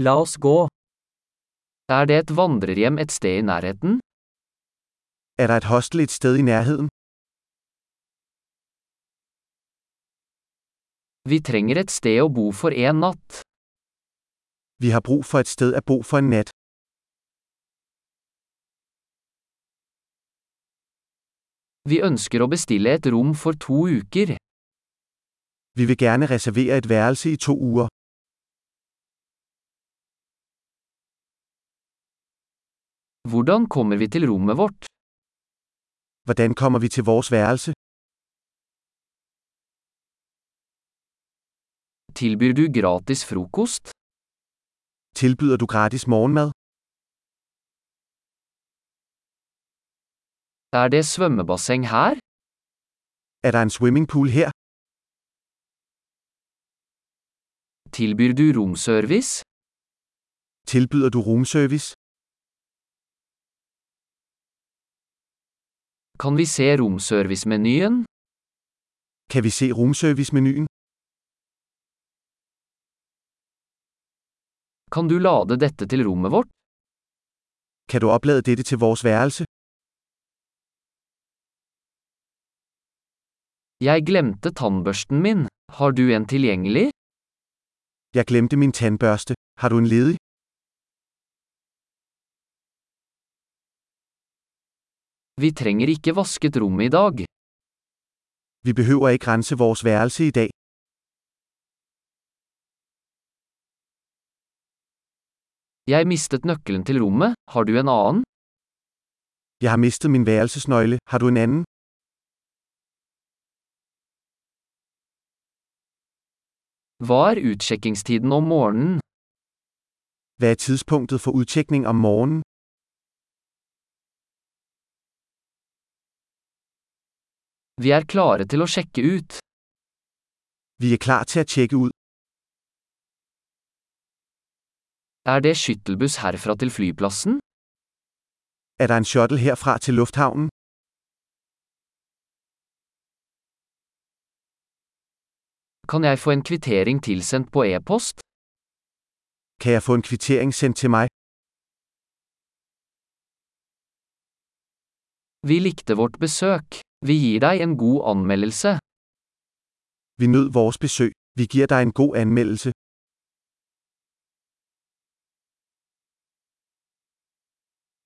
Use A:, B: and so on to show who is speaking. A: La oss gå. Er det et vandrerhjem et sted i nærheten?
B: Er der et hostel et sted i nærheden?
A: Vi trenger et sted å bo for en natt.
B: Vi har brug for et sted at bo for en nat.
A: Vi ønsker å bestille et rom for to uker.
B: Vi vil gerne reservere et værelse i to uger.
A: Hvordan kommer vi til rommet vårt?
B: Hvordan kommer vi til vores værelse?
A: Tilbyr du gratis frokost?
B: Tilbyder du gratis morgenmad?
A: Er det svømmebasseng her?
B: Er der en swimmingpool her?
A: Tilbyr du romservice?
B: Tilbyder du roomservice?
A: Kan vi se romservice-menyen?
B: Kan vi se roomservice-menuen?
A: Kan du lade dette til rommet vårt?
B: Kan du oplade dette til vores værelse?
A: Jeg glemte tannbørsten min. Har du en tilgjengelig?
B: Jeg glemte min tandbørste. Har du en ledig?
A: Vi trenger ikke vasket rommet i dag.
B: Vi behøver ikke rense vores værelse i dag.
A: Jeg mistet nøkkelen til rommet. Har du en annen?
B: Jeg har mistet min værelsesnøgle. Har du en anden?
A: Hva er utsjekkingstiden om morgenen?
B: Hvad er tidspunktet for udtjekning om morgenen?
A: Vi er klare til å sjekke ut.
B: Vi er klar til at tjekke ud.
A: Er det skyttelbuss herfra til flyplassen?
B: Er der en shuttle herfra til lufthavnen?
A: Kan jeg få en kvittering tilsendt på e-post?
B: Kan jeg få en kvittering sendt til mig?
A: Vi likte vårt besøk. Vi gir deg en god anmeldelse.
B: Vi nød vores besøg. Vi giver dig en god anmeldelse.